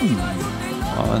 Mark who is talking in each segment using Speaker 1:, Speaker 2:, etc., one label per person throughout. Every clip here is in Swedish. Speaker 1: Mm. Ja,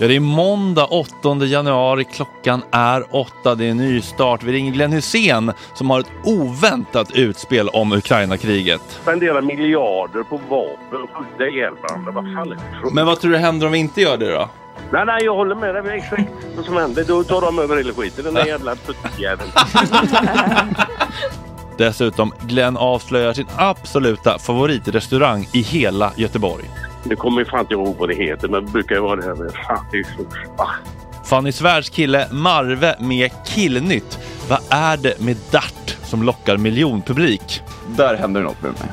Speaker 1: Ja, det är måndag 8 januari. Klockan är åtta. Det är en ny start. Vi ringer Glenn Hussein som har ett oväntat utspel om Ukraina-kriget.
Speaker 2: spenderar miljarder på vapen och skjuta ihjäl varandra. Vad fan är det för-
Speaker 1: Men vad tror du händer om vi inte gör det då?
Speaker 2: Nej, nej, jag håller med dig. Det är exakt vad som händer. Då tar de över hela skiten, den där jävla puttjäveln.
Speaker 1: Dessutom, Glenn avslöjar sin absoluta favoritrestaurang i hela Göteborg.
Speaker 2: Nu kommer jag fan inte ihåg vad det heter, men det brukar ju vara det här med... Fan, det är så... Ah.
Speaker 1: Fanny Svärds kille Marve med Killnytt. Vad är det med Dart som lockar miljonpublik?
Speaker 3: Där händer det något med mig.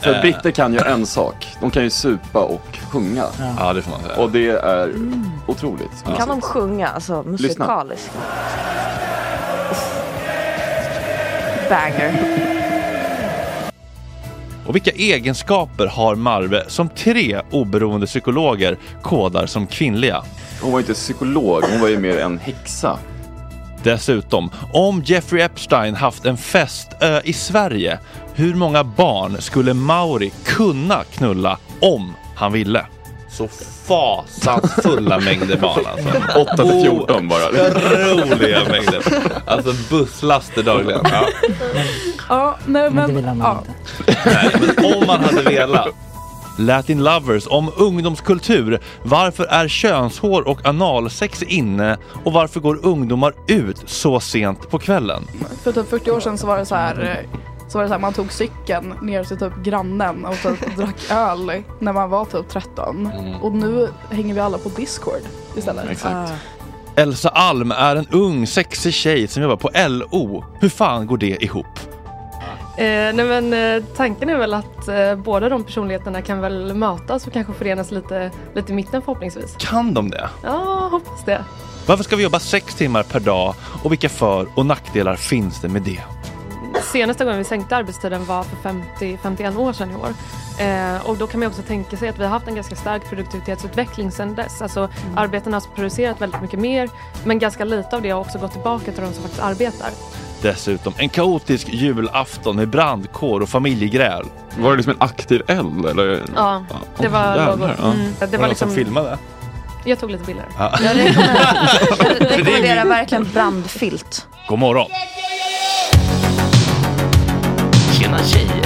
Speaker 3: För britter kan ju en sak. De kan ju supa och sjunga.
Speaker 1: Ja, det får man säga.
Speaker 3: Och det är otroligt.
Speaker 4: Kan de sjunga alltså musikaliskt? Banger.
Speaker 1: Och vilka egenskaper har Marve som tre oberoende psykologer kodar som kvinnliga?
Speaker 3: Hon var ju inte psykolog, hon var ju mer en häxa.
Speaker 1: Dessutom, om Jeffrey Epstein haft en festö i Sverige, hur många barn skulle Mauri kunna knulla om han ville? Så fasansfulla mängder barn alltså.
Speaker 3: 8 till 14 bara.
Speaker 1: Otroliga mängder. Alltså busslaster dagligen.
Speaker 4: Ja, nej,
Speaker 5: Men det vill han nog
Speaker 4: ja.
Speaker 5: inte.
Speaker 1: Om man hade velat. Latin Lovers om ungdomskultur. Varför är könshår och analsex inne och varför går ungdomar ut så sent på kvällen?
Speaker 6: För typ 40 år sedan så var det så här eh, så var det så här, man tog cykeln ner till typ grannen och typ drack öl när man var typ 13. Och nu hänger vi alla på Discord istället.
Speaker 3: Mm. Exakt.
Speaker 5: Ah.
Speaker 1: Elsa Alm är en ung sexig tjej som jobbar på LO. Hur fan går det ihop?
Speaker 6: Eh, nej men eh, tanken är väl att eh, båda de personligheterna kan väl mötas och kanske förenas lite, lite i mitten förhoppningsvis.
Speaker 1: Kan de det?
Speaker 6: Ja, hoppas det.
Speaker 1: Varför ska vi jobba sex timmar per dag och vilka för och nackdelar finns det med det?
Speaker 6: Senaste gången vi sänkte arbetstiden var för 50, 51 år sedan i år. Eh, och då kan man ju också tänka sig att vi har haft en ganska stark produktivitetsutveckling sedan dess. Alltså arbetarna har producerat väldigt mycket mer men ganska lite av det har också gått tillbaka till de som faktiskt arbetar.
Speaker 1: Dessutom en kaotisk julafton med brandkår och familjegräl.
Speaker 3: Var det liksom en aktiv eld eller?
Speaker 6: Ja, det var något. Mm. Det var liksom,
Speaker 1: filmade?
Speaker 6: jag tog lite bilder.
Speaker 4: Jag rekommenderar, jag rekommenderar verkligen brandfilt.
Speaker 1: God morgon!
Speaker 7: Tjena tjejer!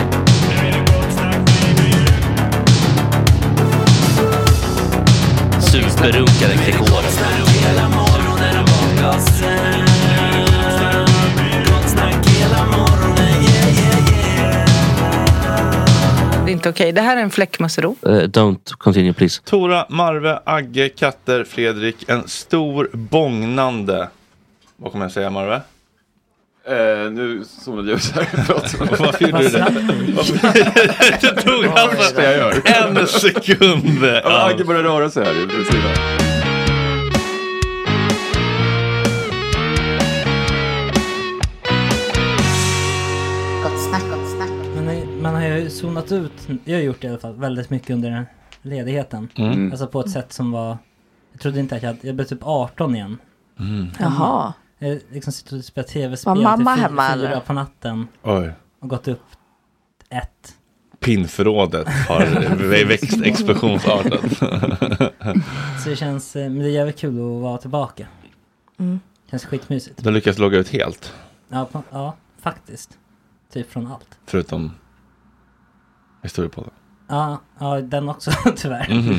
Speaker 7: Superrunkaren Gregor.
Speaker 4: Det är inte okej. Det här är en fläckmussero.
Speaker 7: Eh, don't continue please.
Speaker 1: Tora, Marve, Agge, Katter, Fredrik. En stor bångnande... Vad kommer jag säga Marve?
Speaker 3: Eh, nu zonade jag ut här. Förlåt.
Speaker 1: Varför gjorde du det? det tog alltså
Speaker 3: Det jag gör.
Speaker 1: en sekund.
Speaker 3: Ja, Agge börjar röra sig här. i sidan.
Speaker 5: Men eh, man har ju zonat ut, jag har gjort det i alla fall, väldigt mycket under den här ledigheten. Alltså på ett sätt som var, jag trodde inte att jag hade, jag blev typ 18 igen.
Speaker 4: Jaha.
Speaker 5: Jag liksom sitter och spelar tv-spel
Speaker 4: Var mamma
Speaker 5: till
Speaker 4: hemma,
Speaker 5: fyra
Speaker 4: eller?
Speaker 5: på natten
Speaker 1: Oj.
Speaker 5: och gått upp ett.
Speaker 1: Pinnförrådet har växt explosionsartat.
Speaker 5: Så det känns, eh, men det är jävligt kul att vara tillbaka.
Speaker 4: Mm.
Speaker 5: Känns skitmysigt.
Speaker 1: De lyckas logga ut helt.
Speaker 5: Ja, på, ja, faktiskt. Typ från allt.
Speaker 1: Förutom historiepodden.
Speaker 5: Ja, ja den också tyvärr.
Speaker 1: Mm,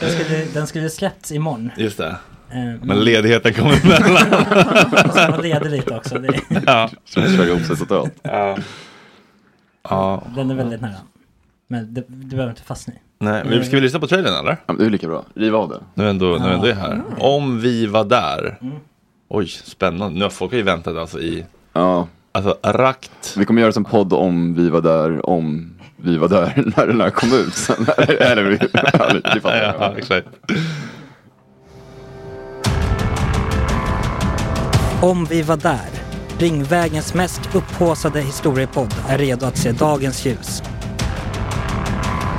Speaker 5: den, skulle, den skulle släppts imorgon.
Speaker 1: Just det.
Speaker 5: Eh,
Speaker 1: Men ledigheten kommer emellan.
Speaker 5: man var ledig lite också. Det,
Speaker 3: Så vi kör ihop sig totalt.
Speaker 1: Ja.
Speaker 5: den är väldigt nära. Men det, du behöver inte fastna i.
Speaker 1: Nej, men ska vi lyssna på trailern eller?
Speaker 3: Ja, men Det är lika bra. Riv av det.
Speaker 1: Nu ändå, nu ändå är jag här.
Speaker 5: Ah.
Speaker 1: Om vi var där.
Speaker 5: Mm.
Speaker 1: Oj, spännande. Nu har folk ju väntat alltså i...
Speaker 3: Ja,
Speaker 1: Alltså rakt.
Speaker 3: vi kommer göra en podd om vi var där, om vi var där när den här kom ut. Sen, eller, vi- ja, det fattar
Speaker 1: Ja,
Speaker 3: jag.
Speaker 1: exakt.
Speaker 5: Om vi var där. Ringvägens mest upphaussade historiepodd är redo att se dagens ljus.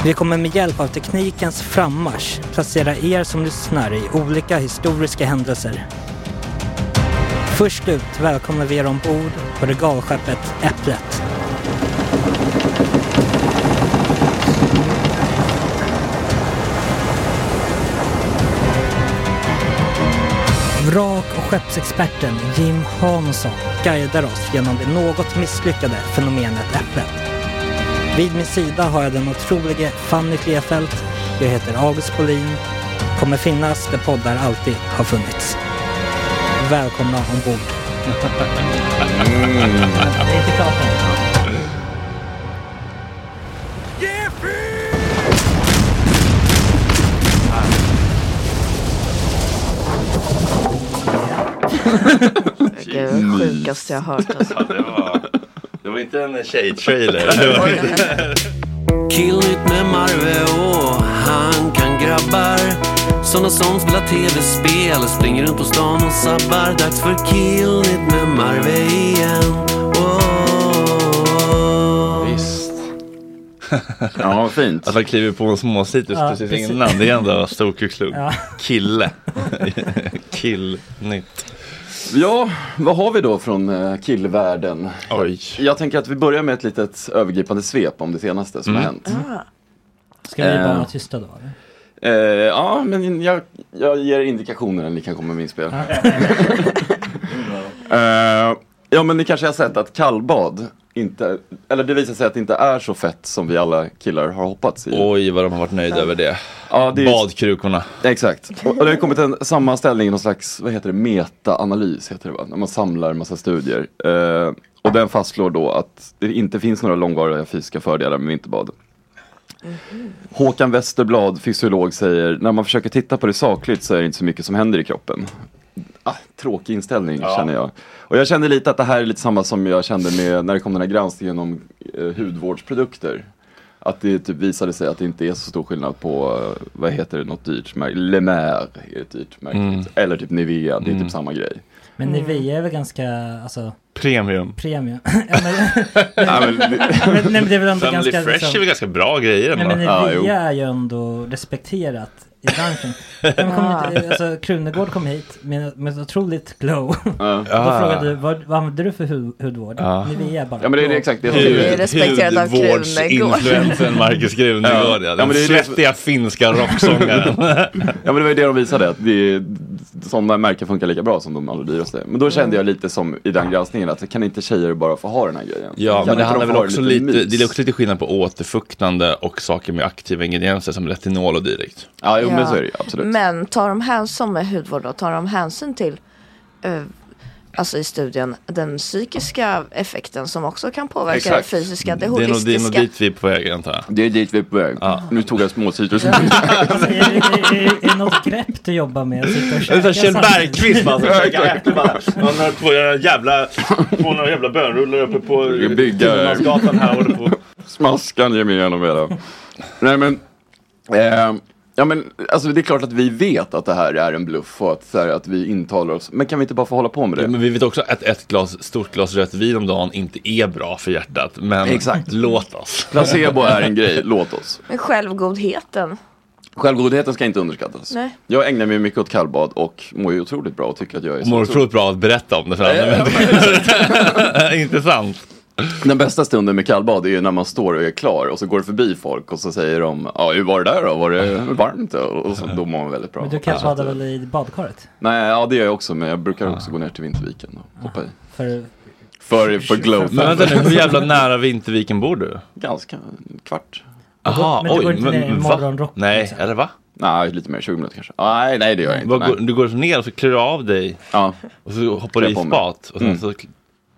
Speaker 5: Vi kommer med hjälp av teknikens frammarsch placera er som lyssnar i olika historiska händelser. Först ut välkomnar vi er ombord på regalskeppet Äpplet. Vrak och skeppsexperten Jim Hansson guidar oss genom det något misslyckade fenomenet Äpplet. Vid min sida har jag den otrolige Fanny Klefelt. Jag heter August Bolin. Kommer finnas där poddar alltid har funnits. Välkomna ombord.
Speaker 3: Mm.
Speaker 4: sjukaste jag hört. Alltså.
Speaker 1: Ja, det, var, det var inte en tjej-trailer. Det var
Speaker 8: Killigt med Marve och han kan grabbar. Såna som spelar tv-spel, springer runt på stan och sabbar. Dags för Killigt med Marve igen.
Speaker 1: Visst. Ja, fint. Att Alltså, han kliver på en småcitrus
Speaker 5: Ja,
Speaker 1: precis,
Speaker 5: precis.
Speaker 1: innan. Det är ändå storkuklugg.
Speaker 5: Ja.
Speaker 1: Kille. Killnytt.
Speaker 3: Ja, vad har vi då från eh, killvärlden? Jag tänker att vi börjar med ett litet övergripande svep om det senaste som
Speaker 1: Mm.
Speaker 3: har hänt.
Speaker 5: Ska vi bara
Speaker 3: Eh.
Speaker 5: vara tysta då? eller?
Speaker 3: Eh, ja, men jag, jag ger indikationer när ni kan komma med inspel. eh, ja, men ni kanske har sett att kallbad inte, eller det visar sig att det inte är så fett som vi alla killar har hoppats i.
Speaker 1: Oj, vad de har varit nöjda över det.
Speaker 3: Ja, det är-
Speaker 1: Badkrukorna.
Speaker 3: Exakt. Och och det har kommit en sammanställning, någon slags, vad heter det, metaanalys heter det va? När man samlar en massa studier. Eh, och den fastslår då att det inte finns några långvariga fysiska fördelar med vinterbad.
Speaker 5: Mm-hmm.
Speaker 3: Håkan Westerblad, fysiolog, säger när man försöker titta på det sakligt så är det inte så mycket som händer i kroppen. Ah, tråkig inställning
Speaker 9: Ja.
Speaker 3: känner jag. Och jag kände lite att det här är lite samma som jag kände med när det kom den här granskningen om eh, hudvårdsprodukter. Att det typ visade sig att det inte är så stor skillnad på, eh, vad heter det, något dyrt märke. Le Maire är ett dyrt märke.
Speaker 1: Mm.
Speaker 3: Eller typ Nivea, det är
Speaker 1: Mm.
Speaker 3: typ samma grej.
Speaker 5: Men Nivea är väl ganska, alltså,
Speaker 1: Premium.
Speaker 5: premium. Ja, men-
Speaker 3: Ja, men-
Speaker 5: men, nej, men det är väl ändå
Speaker 1: Family
Speaker 5: ganska... liksom-
Speaker 1: Fresh är väl ganska bra grejer
Speaker 5: Nej,
Speaker 1: ändå.
Speaker 5: men
Speaker 1: Ja,
Speaker 5: Nivea
Speaker 1: jo.
Speaker 5: är ju ändå respekterat i branschen. Nej, men kom
Speaker 4: Ah.
Speaker 5: hit, eh, alltså, Krunegård kom hit med, med ett otroligt glow. Då
Speaker 1: Ah.
Speaker 5: frågade du, vad, vad använder du för hud, hudvård?
Speaker 1: Ja.
Speaker 5: Nivea bara.
Speaker 3: Ja, men det är det exakt det som-
Speaker 1: Hud-
Speaker 3: Det är respekterat av Krunegård.
Speaker 1: hudvårdsinfluensen Marcus Krunegård, ja.
Speaker 3: Ja,
Speaker 1: Den
Speaker 3: men det är det som-
Speaker 1: svettiga finska rocksångaren.
Speaker 3: ja men det var ju det de visade, att det är, sådana märken funkar lika bra som de allra dyraste. Men
Speaker 1: Mm.
Speaker 3: då kände jag lite som i den granskningen att kan inte tjejer bara få ha den här grejen?
Speaker 1: Ja,
Speaker 3: Kan
Speaker 1: men det
Speaker 3: inte
Speaker 1: handlar
Speaker 3: de
Speaker 1: väl
Speaker 3: få ha
Speaker 1: också
Speaker 3: lite
Speaker 1: lite,
Speaker 3: mys?
Speaker 1: det är också lite skillnad på återfuktande och saker med aktiva ingredienser som retinol och dylikt.
Speaker 3: Ja,
Speaker 4: Ja. Men tar de hänsyn med hudvård då, tar de hänsyn till eh, Alltså i studien, den psykiska effekten som också kan påverka den fysiska, det holistiska.
Speaker 1: vi är på väg antar jag.
Speaker 3: Det är dit vi är på väg. Nu tog jag småcitrus.
Speaker 5: Är, är det något grepp du jobbar med? Att sitta och
Speaker 1: Det är såhär Kjell
Speaker 5: käka samtidigt?
Speaker 1: Bergqvist bara, som käkar äpple bara. Han har två jävla, två några jävla bönrullar uppe på
Speaker 3: Ska bygga-
Speaker 1: Gullmansgatan här. Håller på.
Speaker 3: Smaskan ger mig igenom hela. Nej men, ehm, ja men alltså det är klart att vi vet att det här är en bluff och att, så här, att vi intalar oss. Men kan vi inte bara få hålla på med det?
Speaker 1: Ja, men vi vet också att ett glas, stort glas rött vin om dagen inte är bra för hjärtat. Men
Speaker 3: Exakt.
Speaker 1: låt oss.
Speaker 3: Placebo är en grej, låt oss.
Speaker 4: Men självgodheten,
Speaker 3: Självgodheten ska inte underskattas.
Speaker 4: nej.
Speaker 3: Jag ägnar mig mycket åt kallbad och mår ju otroligt bra och tycker att jag är
Speaker 1: Och mår otroligt bra att berätta om det för andra Intressant.
Speaker 3: Den bästa stunden med kallbad är ju när man står och är klar och så går det förbi folk och så säger de ja hur var det där då, var det varmt? Och så, då mår man väldigt bra.
Speaker 5: Men du
Speaker 3: Ja.
Speaker 5: kanske badar väl i badkaret?
Speaker 3: Nej, ja det gör jag också, men jag brukar också gå ner till Vinterviken och hoppa i.
Speaker 5: För,
Speaker 3: För, för glow.
Speaker 1: Men vänta nu, hur jävla nära Vinterviken bor du?
Speaker 3: Ganska, en kvart.
Speaker 1: Aha,
Speaker 5: Men du
Speaker 1: oj,
Speaker 5: går inte ner i
Speaker 1: men va?
Speaker 5: morgonrock, liksom?
Speaker 1: Nej, eller va?
Speaker 3: Nej, lite mer, 20 minuter kanske. Nej, nej det gör jag inte.
Speaker 1: Vad
Speaker 3: nej.
Speaker 1: går- Du går ner och så klär du av dig
Speaker 3: Ja.
Speaker 1: och så hoppar du
Speaker 3: Klär
Speaker 1: i
Speaker 3: på mig.
Speaker 1: spat. Och sen
Speaker 3: Mm.
Speaker 1: så,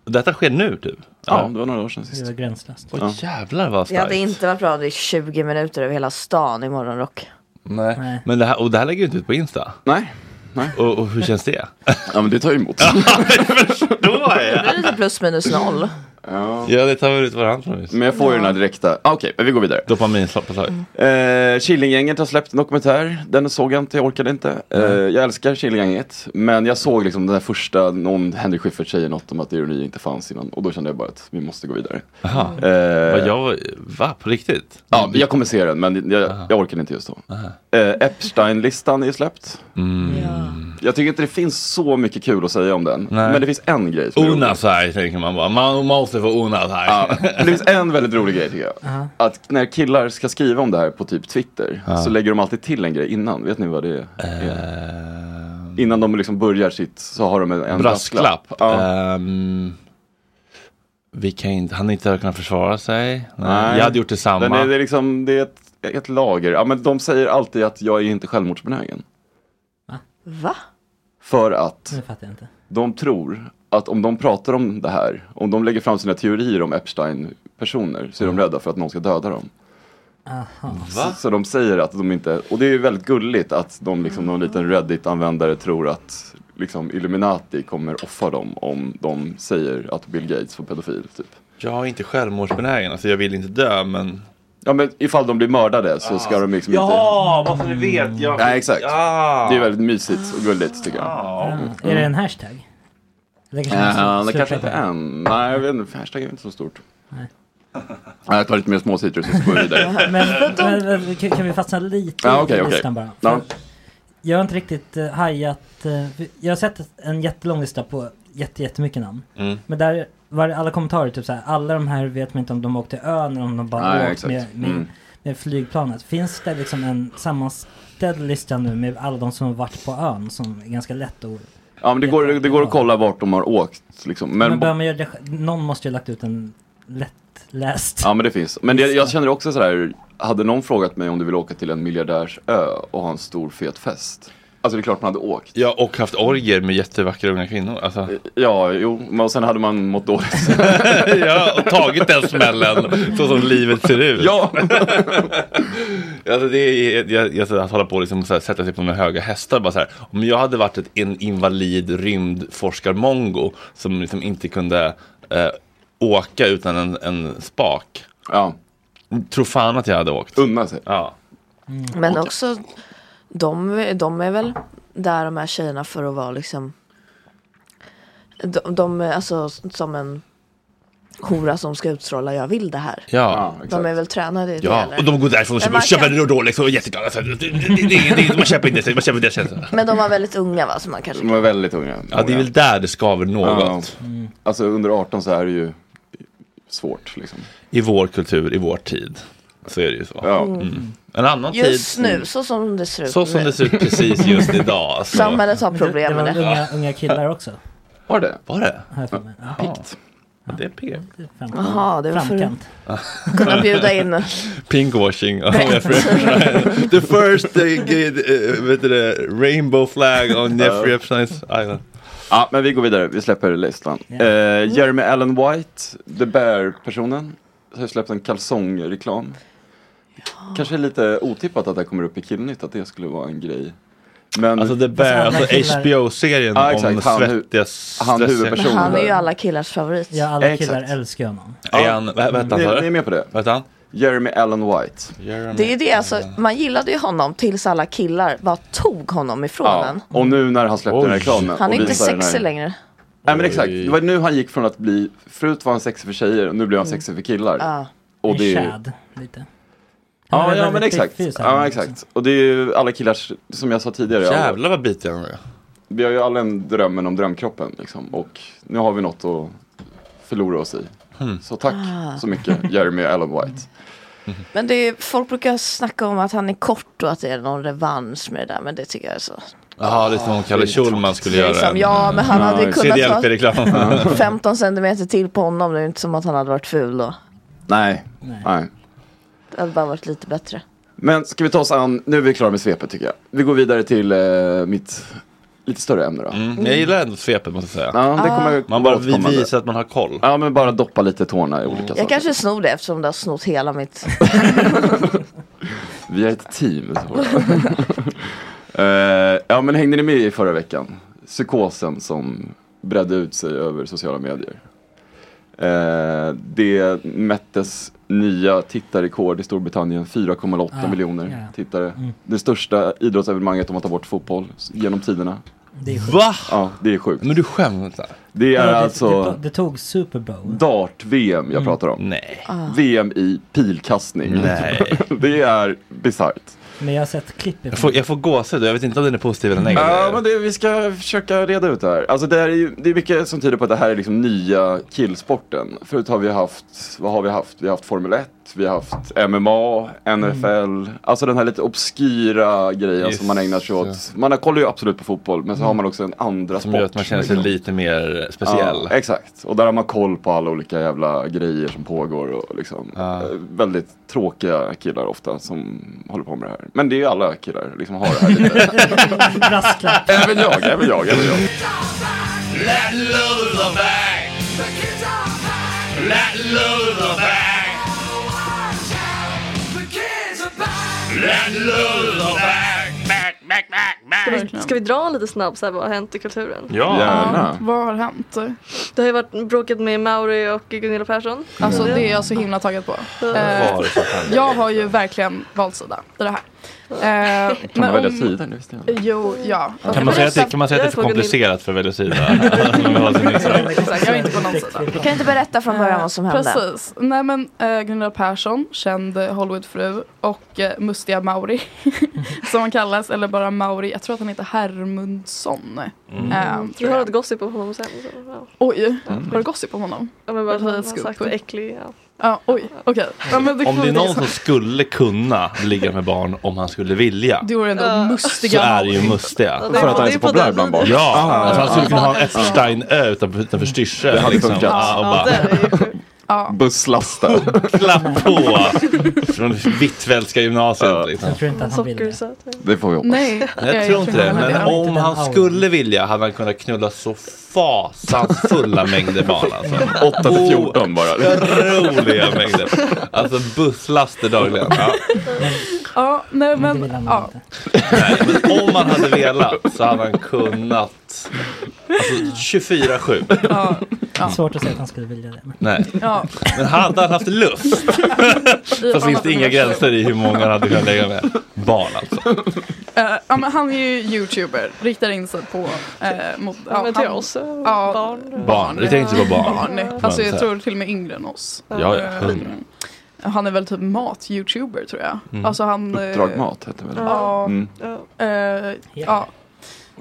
Speaker 1: och detta sker nu typ?
Speaker 3: Ja, det var några år sedan sist.
Speaker 5: Det är gränslöst.
Speaker 1: Oj jävlar vad
Speaker 4: Det hade
Speaker 1: starkt.
Speaker 4: inte varit bra om det är 20 minuter över hela stan i morgonrock.
Speaker 1: Nej. Men det här, och det här lägger du inte ut på Insta?
Speaker 3: Nej.
Speaker 1: Och, och hur känns det?
Speaker 3: Ja men det tar emot.
Speaker 4: Det blir lite plus minus noll.
Speaker 1: ja, det tar väl ut varandra.
Speaker 3: Men jag får ju
Speaker 4: Ja.
Speaker 3: den här direkta, ah, okej, men vi går vidare.
Speaker 1: Dopaminslag.
Speaker 3: Eh, Killinggänget har släppt en dokumentär, den såg jag inte, jag orkade inte. Eh, jag älskar Killinggänget, men jag såg liksom den där första, någon Henrik Schyffert säger något om att ironi inte fanns innan och då kände jag bara att vi måste gå vidare.
Speaker 1: Aha.
Speaker 3: Eh,
Speaker 1: Vad jag, va, på riktigt?
Speaker 3: Ja, jag kommer se den men jag, jag orkar inte just då. Eh, Epstein-listan är ju släppt.
Speaker 1: Mm.
Speaker 3: Jag tycker inte det finns så mycket kul att säga om den.
Speaker 1: Nej.
Speaker 3: Men det finns en grej som är rolig.
Speaker 1: Onasai tänker man bara. Man måste få onasai.
Speaker 3: Ja, men det finns en väldigt rolig grej tycker jag.
Speaker 1: Aha.
Speaker 3: Att när killar ska skriva om det här på typ Twitter
Speaker 1: Ja.
Speaker 3: så lägger de alltid till en grej innan. Vet ni vad det är? Innan de liksom börjar sitt så har de en, en
Speaker 1: Eh. Brasklapp.
Speaker 3: Ja.
Speaker 1: Ehm, vi kan inte, han inte har kunnat försvara sig. Nej.
Speaker 3: Nej.
Speaker 1: Jag hade gjort detsamma.
Speaker 3: Den är, det, är liksom, det är ett, ett lager. Ja, men de säger alltid att jag är inte självmordsbenägen.
Speaker 4: Va?
Speaker 3: För att
Speaker 5: Nu fattar jag inte.
Speaker 3: de tror att om de pratar om det
Speaker 5: Mm.
Speaker 3: här, om de lägger fram sina teorier om Epstein-personer så är de rädda för att någon ska döda dem.
Speaker 5: Aha.
Speaker 3: Så, så de säger att de inte, och det är ju väldigt gulligt att de liksom, någon liten
Speaker 5: Mm.
Speaker 3: Reddit-användare tror att liksom, Illuminati kommer offa dem om de säger att Bill Gates var pedofil. Typ.
Speaker 1: Jag är inte självmordsbenägen, alltså jag vill inte dö men...
Speaker 3: Ja men ifall de blir mördade så ska de liksom inte...
Speaker 1: Ja, varför ni Ah. vet! Jag...
Speaker 3: Nej exakt.
Speaker 1: Ah.
Speaker 3: Det är väldigt mysigt och gulligt tycker jag.
Speaker 5: Mm. Är det en hashtag? Eller kanske man
Speaker 3: Ja, Eh, det
Speaker 5: slutar
Speaker 3: kanske inte
Speaker 5: på.
Speaker 3: är än. Nej, jag vet inte. Hashtag är inte så stort. Nej, jag tar lite mer småcitrus och så går vi vidare.
Speaker 5: Men, men, men kan kan vi fastna lite
Speaker 3: Ja, okej,
Speaker 5: i
Speaker 3: okej.
Speaker 5: listan bara?
Speaker 3: Ja.
Speaker 5: Jag har inte riktigt uh, hajat. eh, för jag har sett en jättelång lista på jätte, jättemycket namn.
Speaker 3: Mm.
Speaker 5: Men där var det alla kommentarer typ så här. Alla de här vet man inte om de åkte till ön eller om de bara
Speaker 3: Nej,
Speaker 5: åkt
Speaker 3: exakt.
Speaker 5: med, med,
Speaker 3: Mm.
Speaker 5: med flygplanet. Finns det liksom en sammanställd lista nu med alla de som har varit på ön som är ganska lätt att...
Speaker 3: Ja, men det går, det går att kolla vart de har åkt. Liksom.
Speaker 5: Men,
Speaker 3: Men,
Speaker 5: behöver man göra det, sj- någon måste ju ha lagt ut en lättläst.
Speaker 3: ja, men det finns. Men det, jag känner också sådär. Hade någon frågat mig om du vill åka till en miljardärsö och ha en stor fet fest? Alltså det är klart man hade åkt. Eh,
Speaker 1: Ja, och haft orger med jättevackra unga kvinnor. Alltså.
Speaker 3: Ja, jo, men sen hade man mått dåligt.
Speaker 1: ja, och tagit den smällen så som livet ser ut.
Speaker 3: Ja.
Speaker 1: alltså det är, jag, jag, jag håller på att liksom så här, sätta sig på mina höga hästar. Bara så här, om jag hade varit ett, en invalid rymdforskarmongo som liksom inte kunde eh, åka utan en, en spak.
Speaker 3: Ja.
Speaker 1: Tror fan att jag hade åkt.
Speaker 3: Unna sig.
Speaker 1: Ja.
Speaker 4: Men också, de, de är väl där de här tjejerna för att vara liksom de, de är alltså som en hora som ska utstråla jag vill det här.
Speaker 1: Ja,
Speaker 4: de är väl tränade i det.
Speaker 1: Ja,
Speaker 4: eller?
Speaker 1: och de går därifrån och
Speaker 4: Men man
Speaker 1: köper, köper en Rolex och är jätteglada. Så här, liksom." Alltså, Det, det, det, det, är ingenting, man köper inte det, man köper inte det. känslan.
Speaker 4: Men de var väldigt unga va? Så man kanske...
Speaker 3: De var väldigt unga.
Speaker 1: Ja, det är väl där det skaver något.
Speaker 3: Ja. Alltså under 18 så är det ju svårt liksom.
Speaker 1: I vår kultur, i vår tid. Så är det ju så.
Speaker 3: Ja.
Speaker 1: Mm. En annan tid.
Speaker 4: Just nu, så som det ser ut
Speaker 1: Så som
Speaker 4: nu.
Speaker 1: det ser ut precis just idag. Så.
Speaker 4: Samhället har
Speaker 5: Men det-
Speaker 4: problem med
Speaker 5: det. var
Speaker 4: det.
Speaker 5: unga, unga killar också.
Speaker 3: Var det?
Speaker 1: Var det?
Speaker 5: Har jag för mig. Ja.
Speaker 1: Pikt. Ja, det är pigg.
Speaker 4: Jaha, det var för
Speaker 5: Framkant.
Speaker 4: att kunna bjuda in.
Speaker 1: Pinkwashing. av Jeffrey Epstein. The first eh, gid, eh, vet du det, rainbow flag on Jeffrey Epsteins island.
Speaker 3: Ja, men vi går vidare. Vi släpper listan. Eh, Jeremy Allen White, The Bear-personen, har ju släppt en kalsongreklam. Kanske lite otippat att det här kommer upp i Killnytt, att det skulle vara en grej. Men...
Speaker 1: Alltså The Bear,
Speaker 3: Fast alla
Speaker 1: alltså
Speaker 3: killar-
Speaker 1: HBO-serien
Speaker 3: Ja,
Speaker 1: om
Speaker 3: exakt. Han hu-
Speaker 1: svettiga
Speaker 3: han
Speaker 1: stressiga-
Speaker 3: huvudpersonen.
Speaker 4: Men han är ju alla killars favorit.
Speaker 5: Ja, alla
Speaker 3: Exakt.
Speaker 5: killar älskar ju honom.
Speaker 1: Är han, vad vad hette han? sa
Speaker 3: Ni,
Speaker 1: du?
Speaker 3: ni är med på det?
Speaker 1: Vad han?
Speaker 3: Jeremy Allen White.
Speaker 4: Det är ju det, alltså, man gillade ju honom tills alla killar bara tog honom ifrån
Speaker 3: Ja.
Speaker 4: en.
Speaker 3: Och nu när han släppte den här reklamen.
Speaker 4: Han är
Speaker 3: och
Speaker 4: inte
Speaker 3: visar den här-
Speaker 4: sexig längre.
Speaker 3: Nej men exakt, det var nu han gick från att bli, förut var han sexig för tjejer och nu blev han
Speaker 4: Mm.
Speaker 3: sexig för killar.
Speaker 4: Ja.
Speaker 3: Och det är ju-
Speaker 5: Chad, lite. Han
Speaker 3: Ja,
Speaker 5: är
Speaker 3: ja men
Speaker 5: väldigt
Speaker 3: exakt.
Speaker 5: piffig så här.
Speaker 3: Ja, exakt. Och det är ju alla killars, som jag sa tidigare.
Speaker 1: Jävlar vad bitig han är.
Speaker 3: Vi har ju alla en drömmen om drömkroppen liksom. Och nu har vi något att förlora oss i. Så tack
Speaker 4: Ah.
Speaker 3: så mycket Jeremy Allen White.
Speaker 4: Men det är, folk brukar snacka om att han är kort och att det är någon revansch med det där. Men det tycker jag är så.
Speaker 1: Jaha, det är som om Kalle Schulman skulle
Speaker 4: Det är
Speaker 1: göra
Speaker 4: liksom, ja, men han hade ju kunnat ta-
Speaker 1: CDLP-reklam.
Speaker 4: 15 centimeter till på honom. Det är ju inte som att han hade varit ful då.
Speaker 3: Nej. Nej.
Speaker 4: Det hade bara varit lite bättre.
Speaker 3: Men ska vi ta oss an, nu är vi klara med svepet tycker jag. Vi går vidare till eh, mitt lite större ämne då.
Speaker 1: Mm, jag gillar ändå svepet måste jag säga.
Speaker 3: Ja, det kommer
Speaker 1: Man bara vi
Speaker 3: återkommande.
Speaker 1: visar att man har koll.
Speaker 3: Ja men bara doppa lite tårna i olika saker.
Speaker 4: Jag kanske snor det eftersom det har snott hela mitt...
Speaker 3: Vi är ett team. så. Eh, ja men hängde ni med i förra veckan? Psykosen som bredde ut sig över sociala medier. Eh, det mättes nya tittarrekord i Storbritannien, 4,8
Speaker 5: Ah,
Speaker 3: miljoner
Speaker 5: ja, Mm. ja.
Speaker 3: tittare. Det största idrottsevenemanget om att ta bort fotboll s- genom tiderna.
Speaker 5: Det är sjukt.
Speaker 1: Va?
Speaker 3: Ja, det är sjukt.
Speaker 1: Men du skämtar?
Speaker 3: Det
Speaker 5: Ja,
Speaker 3: är
Speaker 5: det, typ
Speaker 3: alltså
Speaker 5: det, det tog Super Bowl.
Speaker 3: dart-VM jag pratar om.
Speaker 1: Mm. Nej.
Speaker 5: Ah.
Speaker 3: VM i pilkastning.
Speaker 1: Nej.
Speaker 3: det är bisarrt.
Speaker 5: Men jag har sett klipp
Speaker 1: Jag
Speaker 5: ifrån
Speaker 1: får, jag får gåshud, jag vet inte om den är positiv eller negativ.
Speaker 3: Ja, men det, vi ska försöka reda ut det här. Alltså det, här är ju, det är mycket som tyder på att det här är liksom nya killsporten. Förut har vi haft, vad har vi haft? Vi har haft Formel 1, vi har haft MMA, NFL. Alltså den här lite obskyra grejen
Speaker 1: Just
Speaker 3: som man ägnar sig åt. Man kollar ju absolut på fotboll, men så har man också en andra
Speaker 1: Som
Speaker 3: sport.
Speaker 1: gör att man känner sig
Speaker 3: liksom.
Speaker 1: lite mer speciell.
Speaker 3: Ja, exakt, och där har man koll på alla olika jävla grejer som pågår och liksom eh, väldigt tråkiga killar ofta som håller på med det här. Men det är ju alla killar liksom har det här lite.
Speaker 5: brasklapp.
Speaker 3: även jag, även jag, även jag.
Speaker 8: Let loose the bag. Let loose Oh, the bag.
Speaker 9: Ska vi, ska vi dra lite snabbt så här, vad har hänt i kulturen?
Speaker 1: Ja. Gärna.
Speaker 10: Vad har hänt?
Speaker 9: Det har ju varit bråket med Mauri och Gunilla Persson.
Speaker 10: Alltså det är jag så himla taggad på. Eh,
Speaker 3: Mm. var det som hände?
Speaker 10: jag har ju verkligen valt sida i det här. Eh,
Speaker 3: Kan man
Speaker 10: men
Speaker 3: välja
Speaker 10: om-
Speaker 3: sida nu? visste jag inte.
Speaker 10: Jo, ja.
Speaker 1: Kan man säga att det, kan man säga att det är för komplicerat för att välja sida? Om vi håller till nyheterna.
Speaker 10: Jag är inte på någon sida.
Speaker 4: Kan du inte berätta från början vad som hände?
Speaker 10: Precis. Nej men eh, Gunilla Persson, känd eh, Hollywoodfru och eh, mustiga Mauri som han kallas, eller bara Mauri. Jag tror att han heter Hermundsson.
Speaker 9: Mm.
Speaker 10: Eh,
Speaker 9: Vi har ett gossip om honom sen. Så, ja.
Speaker 10: Oj, var det gossip om honom?
Speaker 9: Ja, men vad
Speaker 10: Var det
Speaker 9: han har
Speaker 10: ett scoop?
Speaker 9: sagt och äcklig. Ja.
Speaker 10: Ja, oj, okej. Ja, men
Speaker 1: Om
Speaker 10: kan
Speaker 1: det är
Speaker 10: vi
Speaker 1: någon
Speaker 10: ta-
Speaker 1: som skulle kunna ligga med barn om han skulle vilja.
Speaker 10: Det vore ändå
Speaker 1: Så
Speaker 10: mustiga
Speaker 1: är det ju mustiga.
Speaker 10: Ja, det är För att han är så på- det är populär på den bland barn.
Speaker 1: Ja,
Speaker 10: Ah,
Speaker 1: alltså han
Speaker 10: ja,
Speaker 1: skulle
Speaker 10: ja.
Speaker 1: kunna ha en Epstein-ö utanför, utanför Styrsö. liksom.
Speaker 3: Det hade funkat.
Speaker 1: Ja, och
Speaker 3: Ja,
Speaker 1: bara
Speaker 3: det är
Speaker 10: Ja.
Speaker 3: Busslastar.
Speaker 1: klapp på från Hvitfeldtska gymnasiet. Liksom.
Speaker 9: Sockersöt.
Speaker 3: Det får vi hoppas.
Speaker 10: Nej,
Speaker 1: Jag tror inte det, men om han skulle vilja hade han kunnat knulla så fasansfulla mängder barn. Alltså.
Speaker 3: 8 till 14 bara.
Speaker 1: Otroliga mängder. Alltså busslaster dagligen. Ja.
Speaker 10: Ja, nej men, ja.
Speaker 1: Om man hade velat så hade han kunnat alltså, 24-7.
Speaker 10: ja,
Speaker 5: Svårt att säga att han skulle vilja det. men-
Speaker 1: Nej.
Speaker 10: ja.
Speaker 1: Men hade han haft lust så finns det inga gränser i hur många han hade kunnat lägga med. Barn alltså.
Speaker 10: Eh, ja, men han är ju youtuber, riktar in sig på... eh, mot, ja,
Speaker 9: men till
Speaker 10: han-
Speaker 9: oss, eh,
Speaker 10: ja,
Speaker 9: barn.
Speaker 1: Barn, det tänkte jag på barn.
Speaker 10: barn.
Speaker 1: Men
Speaker 10: Alltså
Speaker 1: så
Speaker 10: jag
Speaker 1: här.
Speaker 10: tror till och med yngre än oss.
Speaker 1: Ja, ja,
Speaker 10: Eh,
Speaker 1: hundra.
Speaker 10: Han är väl typ mat-youtuber tror jag.
Speaker 3: Mm.
Speaker 10: Alltså han... eh,
Speaker 3: Uppdrag Mat heter väl det?
Speaker 10: Ja.
Speaker 3: Mm.
Speaker 10: eh, ja.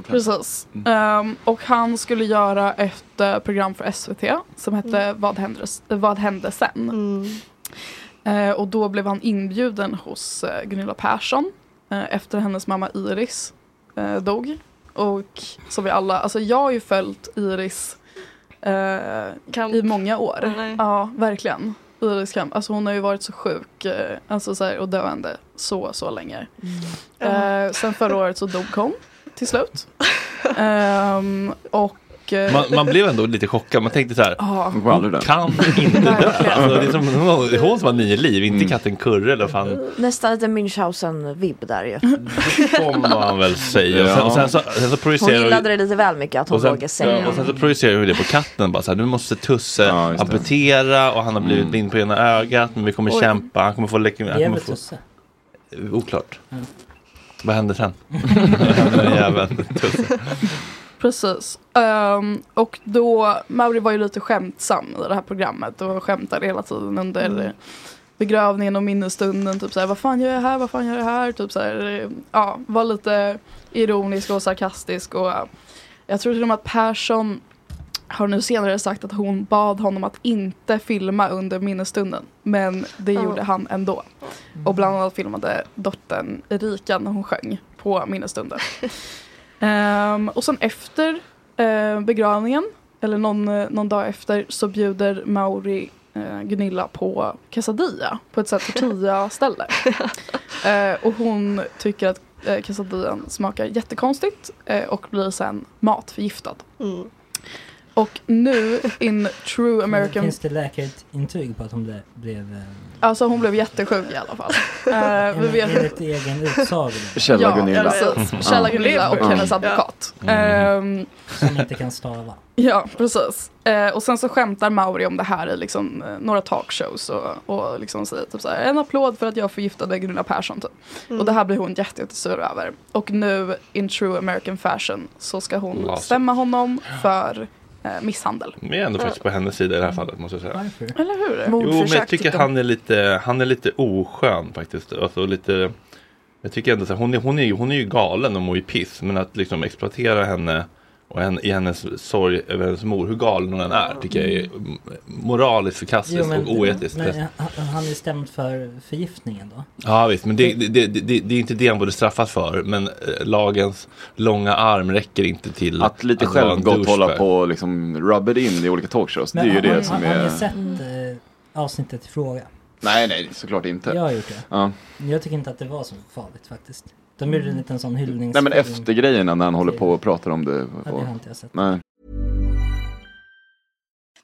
Speaker 10: Precis.
Speaker 3: Mm.
Speaker 10: Ehm, och han skulle göra ett eh, program för SVT som hette
Speaker 9: Mm.
Speaker 10: Vad, händer, Vad hände sen? Eh, och då blev han inbjuden hos eh, Gunilla Persson eh, efter hennes mamma Iris eh, dog. Och som vi alla, alltså jag har ju följt Iris eh, i många år. ja, verkligen. Iris Kamp, alltså hon har ju varit så sjuk eh, alltså så här, och döende så, så länge. Eh, sen förra året så dog hon till slut. Ehm, och... eh,
Speaker 1: Man, man blev ändå lite chockad, man tänkte så här.
Speaker 10: Ja.
Speaker 1: Hon kan inte dö. Alltså, det är som, hon- det är hon som har nio liv, inte katten Kurre eller vad fan
Speaker 4: Nästan lite Münchhausen-vibb där ju.
Speaker 1: får man väl säga. Och sen, och sen så, sen så
Speaker 4: Hon
Speaker 1: projicerar
Speaker 4: gillade det lite väl mycket att hon
Speaker 1: och sen,
Speaker 4: vågade säga.
Speaker 1: ja, och sen så projicerar vi det på katten. Bara så här, nu måste Tusse amputera och han har blivit blind på ena ögat. Men vi kommer
Speaker 5: Oj.
Speaker 1: kämpa. Han kommer få läcka.
Speaker 5: Det
Speaker 1: Han
Speaker 5: är
Speaker 1: kommer
Speaker 5: väl
Speaker 1: få...
Speaker 5: Tusse?
Speaker 1: Oklart.
Speaker 5: Mm.
Speaker 1: Vad händer sen? Vad händer den jäveln? Tusse.
Speaker 10: Precis. Ehm, och då, Mauri var ju lite skämtsam i det här programmet och skämtade hela tiden under
Speaker 9: Mm.
Speaker 10: begravningen och minnesstunden. Typ såhär, vad fan gör jag här, vad fan gör jag här? Typ såhär, ja, var lite ironisk och sarkastisk och jag tror till och med att Persson har nu senare sagt att hon bad honom att inte filma under minnesstunden. Men det
Speaker 9: Ja.
Speaker 10: gjorde han ändå. Och bland annat filmade dottern Erika när hon sjöng på minnesstunden. Ehm, och sen efter eh, begravningen, eller någon, eh, någon dag efter, så bjuder Mauri eh, Gunilla på quesadilla på ett sånt här tortilla-ställe. Eh, och hon tycker att eh, quesadillan smakar jättekonstigt eh, och blir sen matförgiftad.
Speaker 9: Mm.
Speaker 10: Och nu in true American
Speaker 5: Finns det läkarintyg på att hon ble- blev... eh,
Speaker 10: Alltså hon blev jättesjuk i alla fall. Eh, vi
Speaker 5: enligt-
Speaker 10: vet
Speaker 5: Enligt egen utsago då,
Speaker 3: Källa
Speaker 10: ja,
Speaker 3: Gunilla. Mm.
Speaker 10: Precis. Källa
Speaker 3: Ja. Mm.
Speaker 10: Gunilla och
Speaker 3: Ja.
Speaker 10: hennes advokat. Ehm,
Speaker 5: Mm. som inte kan stava.
Speaker 10: ja, precis. Eh, och sen så skämtar Mauri om det här i liksom, eh, några talkshows och, och liksom säger typ så här, en applåd för att jag förgiftade Gunilla Persson. Typ.
Speaker 9: Mm.
Speaker 10: Och det här blir hon jätte, jättesur över. Och nu in true American fashion så ska hon
Speaker 1: Laser.
Speaker 10: stämma honom för eh, misshandel.
Speaker 1: Vi är ändå faktiskt på hennes sida i det här fallet måste jag säga.
Speaker 10: Eller hur?
Speaker 1: Jo, men jag tycker han är lite, han är lite oskön faktiskt. Alltså lite, jag tycker ändå så här, hon, är, hon, är, ju- hon är ju galen och mår ju piss. Men att liksom exploatera henne och henne, i hennes sorg över hennes mor, hur galen hon än är, tycker jag är m- moraliskt förkastligt och Alltså, oetiskt.
Speaker 5: Men, eh, han, han är stämd för förgiftningen då?
Speaker 1: Ja visst, men det, det, det, det, det är inte det han borde straffas för. Men eh, lagens långa arm räcker inte till
Speaker 3: Att lite
Speaker 1: vara en
Speaker 3: självgott hålla
Speaker 1: douchebag.
Speaker 3: på och liksom rub it in i olika talkshows. Det
Speaker 5: Men
Speaker 3: är ju
Speaker 5: har-
Speaker 3: det
Speaker 5: har,
Speaker 3: som
Speaker 5: har, har
Speaker 3: är...
Speaker 5: ni sett
Speaker 10: Mm.
Speaker 5: eh, avsnittet i fråga?
Speaker 3: Nej, nej, såklart inte.
Speaker 5: Jag har gjort det.
Speaker 3: Ja.
Speaker 5: Jag tycker inte att det var så farligt faktiskt. De gjorde en liten sån hyllnings...
Speaker 3: Nej men efter grejerna när han håller på och pratar om det.
Speaker 5: det
Speaker 3: Och...
Speaker 5: har inte jag sett.
Speaker 3: Nej.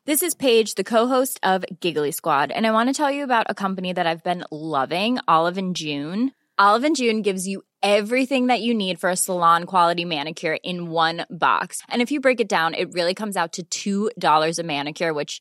Speaker 11: This is Paige, the co-host of Giggly Squad, and I want to tell you about a company that I've been loving, Olive and June. Olive and June gives you everything that you need for a salon quality manicure in one box. And if you break it down, it really comes out to $2 a manicure, which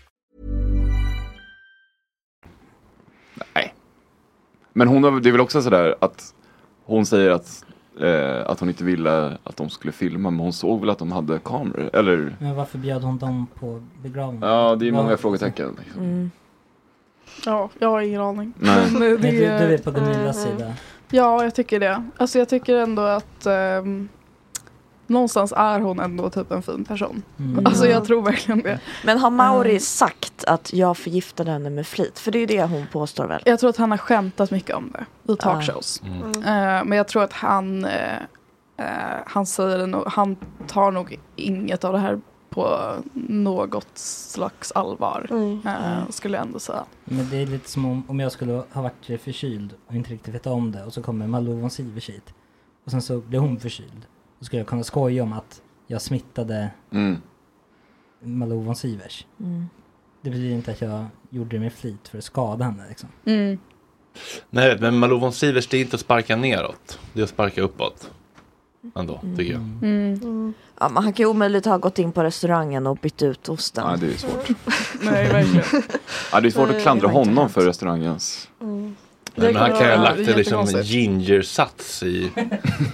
Speaker 3: Men hon har, det är väl också sådär att hon säger att, eh, att hon inte ville att de skulle filma men hon såg väl att de hade kameror eller?
Speaker 5: Men varför bjöd hon dem på begravningen?
Speaker 3: Ja det är ju
Speaker 5: Vad-
Speaker 3: många frågetecken.
Speaker 10: Mm. Ja, jag har ingen aning.
Speaker 3: Nej.
Speaker 10: Men eh,
Speaker 5: Nej, du- du är på Gunillas
Speaker 10: Mm.
Speaker 5: sida.
Speaker 10: Ja, jag tycker det. Alltså jag tycker ändå att ehm, någonstans är hon ändå typ en fin person.
Speaker 4: Mm.
Speaker 10: Alltså jag tror verkligen det.
Speaker 4: Men har Mauri
Speaker 10: Mm.
Speaker 4: sagt att jag förgiftade henne med flit? För det är ju det hon påstår väl?
Speaker 10: Jag tror att han har skämtat mycket om det i talkshows.
Speaker 4: Mm.
Speaker 10: Eh, men jag tror att han, eh, eh, han säger det nog, han tar nog inget av det här på något slags allvar.
Speaker 4: Mm.
Speaker 10: eh, skulle jag ändå säga.
Speaker 5: Men det är lite som om, om jag skulle ha varit förkyld och inte riktigt veta om det och så kommer Malou von Sivers hit. Och sen så blir hon förkyld. Då skulle jag kunna skoja om att jag smittade
Speaker 3: Mm.
Speaker 5: Malou von Sivers.
Speaker 4: Mm.
Speaker 5: Det betyder inte att jag gjorde det med flit för att skada henne liksom.
Speaker 1: Nej, men Malou von Sivers, det är inte att sparka neråt. Det är att sparka uppåt. Ändå, tycker jag.
Speaker 4: Ja, men han kan ju omöjligt ha gått in på restaurangen och bytt ut osten.
Speaker 3: Nej, det är ju svårt.
Speaker 10: Nej, verkligen.
Speaker 3: Ja, det är svårt att
Speaker 4: Nej,
Speaker 3: klandra
Speaker 4: det var inte
Speaker 3: honom för restaurangens.
Speaker 1: Nej, men han kan ju ha
Speaker 10: vara-
Speaker 1: lagt
Speaker 10: det är
Speaker 1: en liksom
Speaker 10: jättekonstigt.
Speaker 1: gingersats i,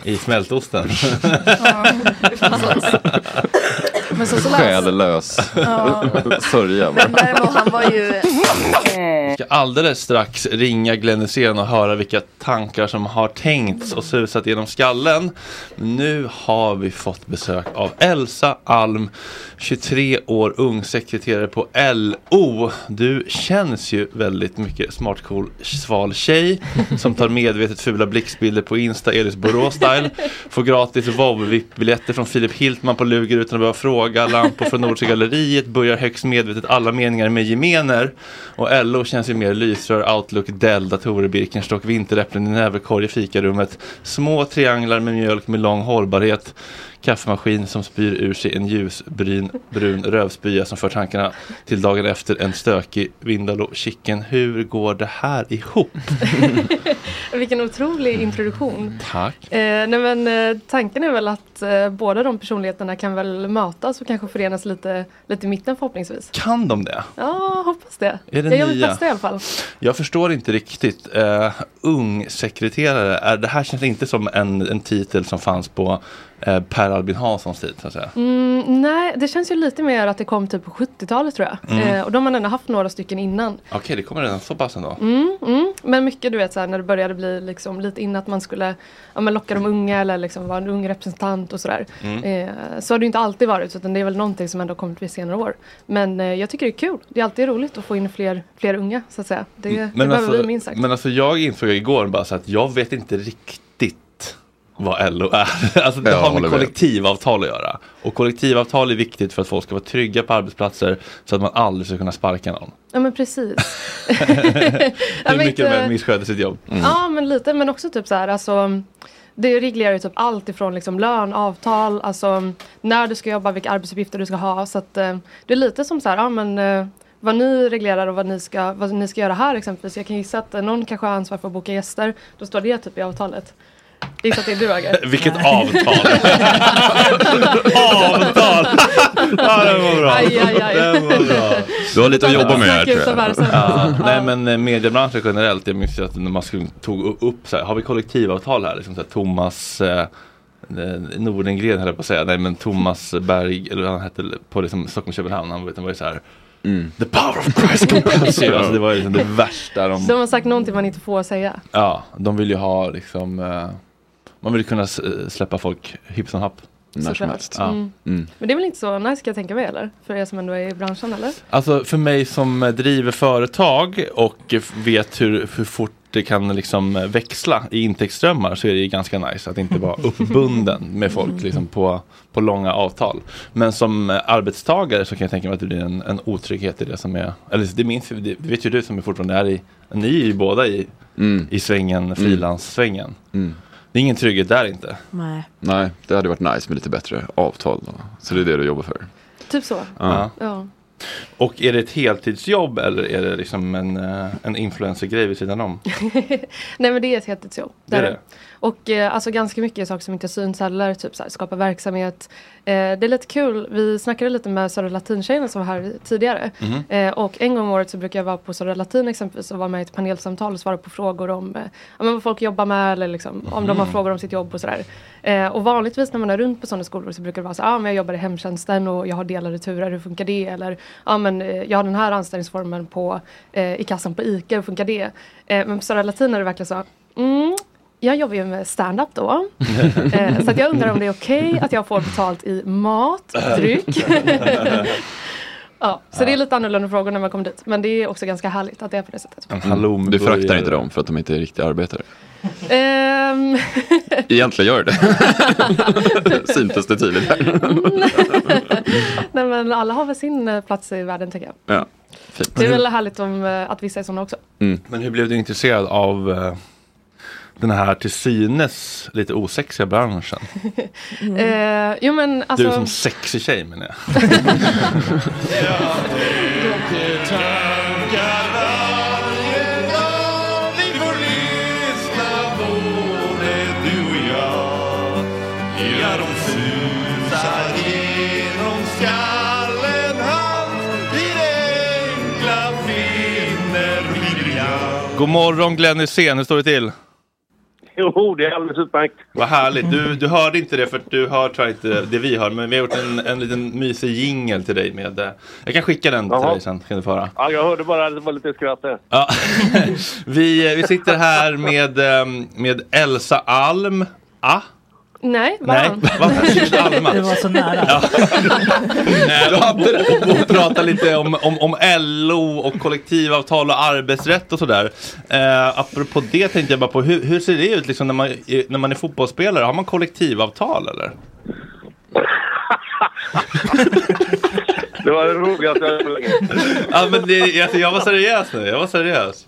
Speaker 1: i smältosten.
Speaker 10: Men så- så läs-
Speaker 3: Själlös
Speaker 10: Ja.
Speaker 3: sörja.
Speaker 4: Men däremot han var ju...
Speaker 1: Vi ska alldeles strax ringa Glenn Hysén och höra vilka tankar som har tänkts och susat genom skallen. Nu har vi fått besök av Elsa Alm, 23 år ung sekreterare på LO. Du känns ju väldigt mycket smart, cool, sval tjej som tar medvetet fula blicksbilder på Insta, Elis Borås-style. Får gratis VOV-biljetter från Filip Hiltman på Luger utan att behöva fråga. Lampor från Nordiska galleriet börjar högst medvetet alla meningar med gemener. Och LO känns ju mer lysrör, Outlook, Dell, datorer, Birkenstock, vinteräpplen i näverkorg i fikarummet. Små trianglar med mjölk med lång hållbarhet. Kaffemaskin som spyr ur sig en ljusbrun brun rövspya som för tankarna till dagen efter en stökig Vindaloo chicken. Hur går det här ihop?
Speaker 6: Vilken otrolig
Speaker 1: Mm.
Speaker 6: introduktion.
Speaker 1: Tack.
Speaker 6: Eh, nej men, eh, tanken är väl att eh, båda de personligheterna kan väl mötas och kanske förenas lite, lite i mitten förhoppningsvis.
Speaker 1: Kan de det?
Speaker 6: Ja, hoppas det.
Speaker 1: Är det
Speaker 6: jag gör mitt
Speaker 1: nya?
Speaker 6: bästa i alla fall.
Speaker 1: Jag förstår inte riktigt. Uh, ung sekreterare, är, det här känns inte som en, en titel som fanns på eh, Per Albin Hanssons tid. Så att säga.
Speaker 6: Mm, nej, det känns ju lite mer att det kom typ på 70-talet tror jag.
Speaker 1: Mm.
Speaker 6: Eh, och de har man ändå haft några stycken innan.
Speaker 1: Okej, det kommer redan så pass ändå.
Speaker 6: Mm, mm. Men mycket du vet så här, när det började bli liksom, lite in att man skulle ja, men locka de unga eller liksom, vara en ung representant och sådär.
Speaker 1: Mm.
Speaker 6: Eh, så har det ju inte alltid varit utan det är väl någonting som ändå har kommit vid senare år. Men eh, jag tycker det är kul. Det är alltid roligt att få in fler, fler unga så att säga.
Speaker 1: Mm, alltså-
Speaker 6: Det, det behöver vi minst sagt.
Speaker 1: men alltså jag insåg igår bara så att jag vet inte riktigt vad LO är. Alltså det
Speaker 3: Jag
Speaker 1: har
Speaker 3: håller
Speaker 1: med
Speaker 3: med.
Speaker 1: kollektivavtal att göra. Och kollektivavtal är viktigt för att folk ska vara trygga på arbetsplatser så att man aldrig ska kunna sparka någon.
Speaker 6: Ja men precis. Ja,
Speaker 1: Hur
Speaker 6: men
Speaker 1: mycket de
Speaker 6: inte-
Speaker 1: än missköter sitt jobb.
Speaker 6: Ja men lite men också typ så här alltså det reglerar ju typ allt ifrån liksom lön, avtal, alltså när du ska jobba, vilka arbetsuppgifter du ska ha. Så att eh, det är lite som så här, ja men eh, vad ni reglerar och vad ni, ska, vad ni ska göra här exempelvis. Jag kan gissa att eh, någon kanske har ansvar för att boka gäster. Då står det typ i avtalet. Jag gissar att det är du Agge.
Speaker 1: Vilket avtal! avtal! ja, den var bra.
Speaker 6: Aj, aj, aj.
Speaker 1: Den var bra.
Speaker 3: Du har lite att jobba med här tror jag.
Speaker 1: Ja, nej men eh, mediebranschen generellt, jag minns ju att när man skulle, tog u- upp så här, har vi kollektivavtal här? Liksom så här Thomas eh, eh, Nordengren höll jag på att säga, nej men Thomas Berg, eller vad han hette på liksom, Stockholm Köpenhamn, han, vet, han var ju så här The power of Christ compels you. Mm. alltså, det var ju liksom det värsta de,
Speaker 6: De har sagt någonting man inte får säga.
Speaker 1: ja, de vill ju ha liksom, eh, man vill kunna s- släppa folk hipp som happ.
Speaker 6: Såklart.
Speaker 1: Ja.
Speaker 6: Mm.
Speaker 1: Mm.
Speaker 6: Men det är väl inte så nice kan jag tänka mig eller? För er som ändå är i branschen eller?
Speaker 1: Alltså för mig som eh, driver företag och eh, vet hur, hur fort det kan liksom eh, växla i intäktsströmmar så är det ju ganska nice att inte vara uppbunden med folk liksom på, på långa avtal. Men som eh, arbetstagare så kan jag tänka mig att det blir en, en otrygghet i det som är, eller det, minns, ju- det det vet ju du som är fortfarande är i, ni är ju båda i,
Speaker 3: Mm.
Speaker 1: i svängen, frilanssvängen. Det är ingen trygghet där inte.
Speaker 4: Nej.
Speaker 3: Nej, det hade varit nice med lite bättre avtal. Då. Så det är det du jobbar för.
Speaker 6: Typ så.
Speaker 1: Ja.
Speaker 6: Ja.
Speaker 1: Och är det ett heltidsjobb eller är det liksom en, eh, en influencergrej vid sidan om?
Speaker 6: Nej men det är ett heltidsjobb.
Speaker 1: Det
Speaker 6: Det
Speaker 1: är
Speaker 6: är
Speaker 1: det.
Speaker 6: det. Och eh, alltså ganska mycket saker som inte syns heller, typ så här, skapa verksamhet. Eh, det är lite kul, vi snackade lite med Södra Latin-tjejerna som var här tidigare.
Speaker 12: Mhm.
Speaker 6: Eh, och en gång om året så brukar jag vara på Södra Latin exempelvis och vara med i ett panelsamtal och svara på frågor om eh, ja, men vad folk jobbar med eller liksom, om de har
Speaker 12: Mhm.
Speaker 6: frågor om sitt jobb och sådär. Eh, och vanligtvis när man är runt på sådana skolor så brukar det vara så här, ah, men jag jobbar i hemtjänsten och jag har delade turer, hur funkar det? Eller ah, men, eh, jag har den här anställningsformen på, eh, i kassan på ICA, hur funkar det? Eh, men på Södra Latin är det verkligen så, mm, jag jobbar ju med stand-up då. Eh, så att jag undrar om det är okej att jag får betalt i mat, dryck. ja, så det är lite annorlunda frågor när man kommer dit. Men det är också ganska härligt att det är på det sättet.
Speaker 1: halom
Speaker 3: Du föraktar
Speaker 1: börjar-
Speaker 3: inte dem för att de inte är riktiga arbetare.
Speaker 6: Ehm,
Speaker 3: Egentligen gör du det. Syntes det tydligt här.
Speaker 4: Mm.
Speaker 6: nej men alla har väl sin eh, plats i världen tänker jag.
Speaker 3: Ja,
Speaker 6: Det är väl härligt om, eh, att vissa är sådana också.
Speaker 1: Men hur blev du intresserad av eh, den här till synes lite osexiga branschen?
Speaker 5: Mm.
Speaker 6: Eh, jo men alltså.
Speaker 1: Du som sexig tjej menar jag. God morgon Glenn Hysén, hur står det till?
Speaker 2: Jo, det är alldeles utmärkt.
Speaker 1: Vad härligt, du, du hörde inte det för att du hör tror jag inte det vi hör men vi har gjort en, en liten mysig jingel till dig med eh, Jag kan skicka den till
Speaker 2: Jaha.
Speaker 1: dig sen, kan du få höra.
Speaker 2: Ja, jag hörde bara att det var lite skratt där.
Speaker 1: Ja. vi, eh, vi sitter här med, ehm, med Elsa Alm, ah?
Speaker 6: Nej, bara
Speaker 1: Nej, vad Alma.
Speaker 5: Det var så nära.
Speaker 1: Nej, och, och prata lite om, om, om LO och kollektivavtal och arbetsrätt och sådär. Eh, apropå det tänkte jag bara på, hur, hur ser det ut liksom när, man, är- när man är fotbollsspelare? Har man kollektivavtal eller?
Speaker 2: Det var det roligaste jag hört på länge.
Speaker 1: Ja, men det, alltså, jag var seriös nu, jag var seriös.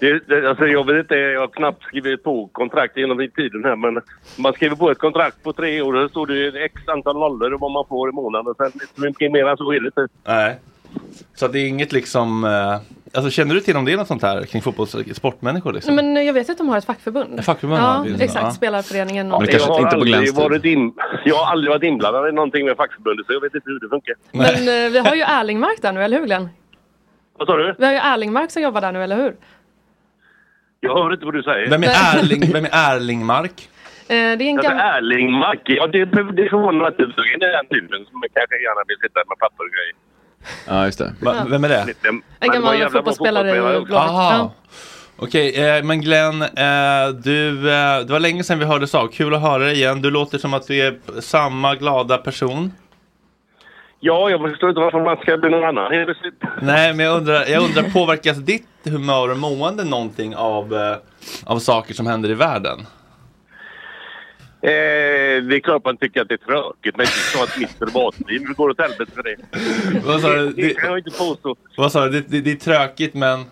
Speaker 2: Det, det, alltså jag vet inte, jag har knappt skrivit på kontrakt genom den tiden här men man skriver på ett kontrakt på tre år och då står det x antal nollor och vad man får i månaden. Sen så mycket mer än så är det inte.
Speaker 1: Nej. Så att det är inget liksom, eh, alltså känner du till om det är något sånt här kring fotbolls, sportmänniskor liksom?
Speaker 6: Nej, men eh, jag vet att de har ett fackförbund.
Speaker 1: Ett fackförbund,
Speaker 6: ja,
Speaker 1: ja, det är så,
Speaker 6: exakt.
Speaker 1: ja.
Speaker 6: Spelarföreningen
Speaker 1: Men det kanske
Speaker 2: jag,
Speaker 1: inte
Speaker 2: har
Speaker 1: på
Speaker 2: aldrig
Speaker 1: Glens tid.
Speaker 2: varit in, jag har aldrig varit inblandad i någonting med fackförbundet så jag vet inte hur det funkar.
Speaker 6: Men eh, vi har ju Erlingmark där nu, eller hur Glenn?
Speaker 2: Vad sa du?
Speaker 6: Vi har ju Erlingmark som jobbar där nu, eller hur?
Speaker 2: Jag hör inte vad du säger.
Speaker 1: Vem är, Erling, vem är Erlingmark?
Speaker 6: Eh, det är en
Speaker 2: Alltså,
Speaker 6: gammal...
Speaker 2: Erling Macke, ja det, det förvånar mig att du tog in den typen som kanske gärna vill sitta med papper och grejer.
Speaker 3: Ja, just det.
Speaker 1: Va, vem är det?
Speaker 2: En
Speaker 6: En gammal fotbollsspelare i Blåvitt.
Speaker 1: Aha.
Speaker 6: Ja.
Speaker 1: Okej, eh, men Glenn, eh, du, eh, det var länge sedan vi hördes av. Kul att höra dig igen. Du låter som att du är p- samma glada person.
Speaker 2: Ja, jag förstår inte varför man ska bli någon annan helt plötsligt.
Speaker 1: Nej, men jag undrar, jag undrar påverkas ditt humör och mående någonting av, eh, av saker som händer i världen?
Speaker 2: Eh, det är klart man tycker att det är tråkigt, men det är klart att mitt privatliv går åt helvete för det.
Speaker 1: Vad sa du?
Speaker 2: Det, det kan jag inte påstå.
Speaker 1: Vad sa du? Det, det, det är tråkigt men...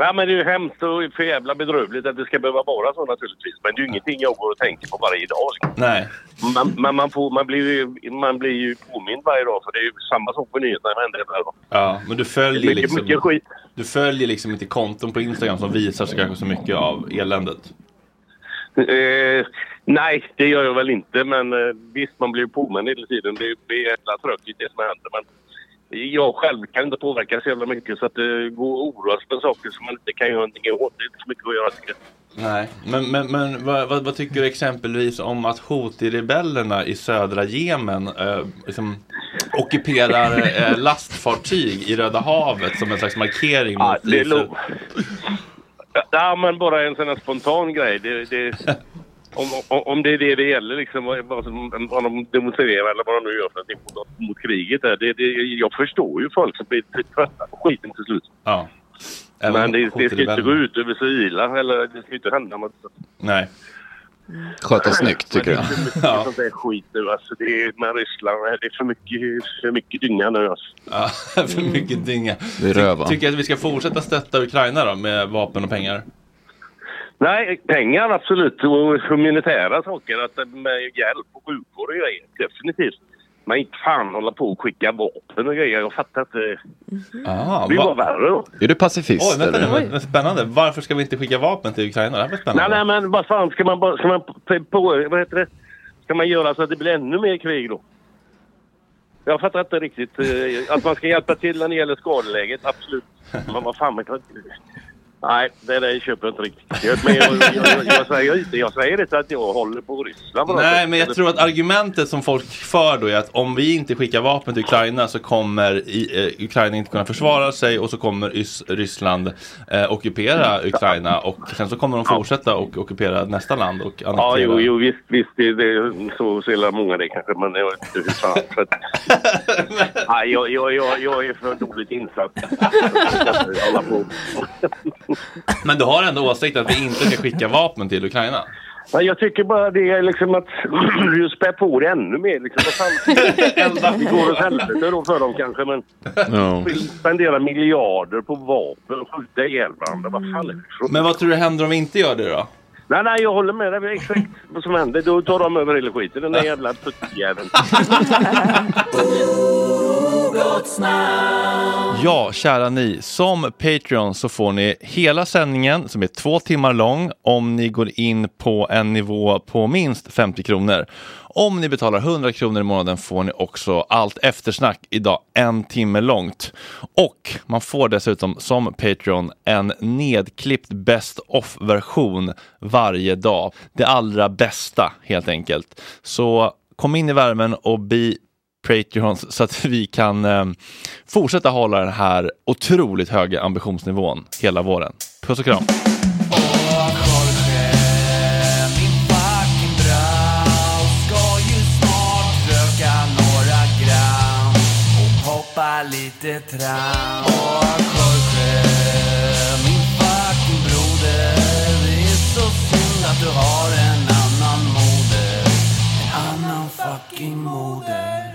Speaker 2: Nej, men det är ju hemskt och för jävla bedrövligt att det ska behöva vara så naturligtvis. Men det är ju ingenting jag går och tänker på varje dag. liksom.
Speaker 1: Nej.
Speaker 2: Man, man, man, får, man, blir, ju, man blir ju påmind varje dag, för det är ju samma sak på nyheterna varenda jävla dag.
Speaker 1: Ja, men du
Speaker 2: Det
Speaker 1: följer
Speaker 2: är mycket-
Speaker 1: liksom...
Speaker 2: mycket skit.
Speaker 1: Du följer liksom inte konton på Instagram som visar så kanske så mycket av eländet.
Speaker 2: Eh, nej, det gör jag väl inte. Men eh, visst, man blir ju påmind hela tiden. Det, det är jävla tråkigt det som händer. Men jag själv kan inte påverka så jävla mycket så att eh, gå och oroa sig för saker som man inte kan göra någonting åt. Det är inte så mycket att göra. tycker jag.
Speaker 1: Nej. Men, men, men vad, vad, vad tycker du exempelvis om att Houthi-rebellerna i södra Jemen eh, liksom, ockuperar eh, lastfartyg i Röda havet som en slags markering mot
Speaker 2: det är
Speaker 1: Israel?
Speaker 2: lov. Ja, men bara en sån här spontan grej. Det, det, om, om, om det är det det gäller, liksom, vad, vad som- vad de demonstrerar eller vad de nu gör för någonting mot, mot kriget. Där. Det, det, jag förstår ju folk som blir trötta på skiten till slut.
Speaker 1: Ja. Även
Speaker 2: Men det, det ska inte
Speaker 1: Houthi-rebellerna.
Speaker 2: gå ut över civila eller det ska inte hända något.
Speaker 1: Nej.
Speaker 3: Sköta snyggt tycker
Speaker 2: Det
Speaker 3: jag.
Speaker 2: är för mycket sånt där skit nu alltså. Det är med Ryssland. Det är för mycket, för mycket dynga nu alltså.
Speaker 1: Ja, för mycket dynga.
Speaker 3: Mm. Det är röva.
Speaker 1: Tycker jag att vi ska fortsätta stötta Ukraina då med vapen och pengar?
Speaker 2: Nej, pengar absolut och humanitära saker. Att, eh, med hjälp och sjukvård och grejer. Definitivt. Men inte fan hålla på och skicka vapen och grejer. Jag fattar inte.
Speaker 1: Ah,
Speaker 2: det var
Speaker 1: va-
Speaker 2: värre då.
Speaker 3: Är du pacifist
Speaker 1: Oj, vänta nu,
Speaker 3: eller?
Speaker 1: men- men spännande. Varför ska vi inte skicka vapen till Ukraina? Det här var spännande.
Speaker 2: Nej, nej, men vad fan ska man, bara- ska man på, på, vad heter det? Ska man göra så att det blir ännu mer krig då? Jag fattar inte riktigt. eh, Att man ska hjälpa till när det gäller skadeläget, absolut. Men vad fan, man kan inte... Nej, det där köper jag inte riktigt. Jag- Men jag, jag, jag, jag, säger, inte- jag säger inte att jag håller på Ryssland på något
Speaker 1: Nej,
Speaker 2: sätt.
Speaker 1: men jag
Speaker 2: Eller-
Speaker 1: tror att argumentet som folk för då är att om vi inte skickar vapen till Ukraina så kommer i, eh, Ukraina inte kunna försvara sig och så kommer Ys- Ryssland eh, ockupera
Speaker 2: Mm.
Speaker 1: Ukraina och sen så kommer de fortsätta och ockupera nästa land och annektera.
Speaker 2: Ja, jo, jo visst, visst det, det, så ser många det kanske, men jag vet inte hur fan. För att, nej, jag, jag, jag, jag är för dåligt insatt. Alla på.
Speaker 1: Men du har ändå åsikten att vi inte ska skicka vapen till Ukraina?
Speaker 2: Men jag tycker bara det är liksom att du spär på det ännu mer. Liksom. Vad fan, det går åt helvete då för dem kanske, men
Speaker 1: Ja.
Speaker 2: vill spendera miljarder på vapen och skjuta ihjäl varandra. Vad fan är det?
Speaker 1: Men vad tror du händer om vi inte gör det då?
Speaker 2: Nej, nej, jag håller med dig. Det är Exakt vad som händer. Då tar de över hela skiten, den där jävla tuttjäveln.
Speaker 1: Ja, kära ni. Som Patreon så får ni hela sändningen som är två timmar lång om ni går in på en nivå på minst 50 kronor. Om ni betalar 100 kronor i månaden får ni också allt eftersnack idag en timme långt. Och man får dessutom som Patreon en nedklippt best of-version varje dag. Det allra bästa helt enkelt. Så kom in i värmen och bli Patreons så att vi kan eh, fortsätta hålla den här otroligt höga ambitionsnivån hela våren. Puss och kram!
Speaker 8: Ska ju snart röka några gram och hoppa lite tram. Och Jorge, min fucking broder. Det är så synd att du har en annan moder. En annan fucking moder.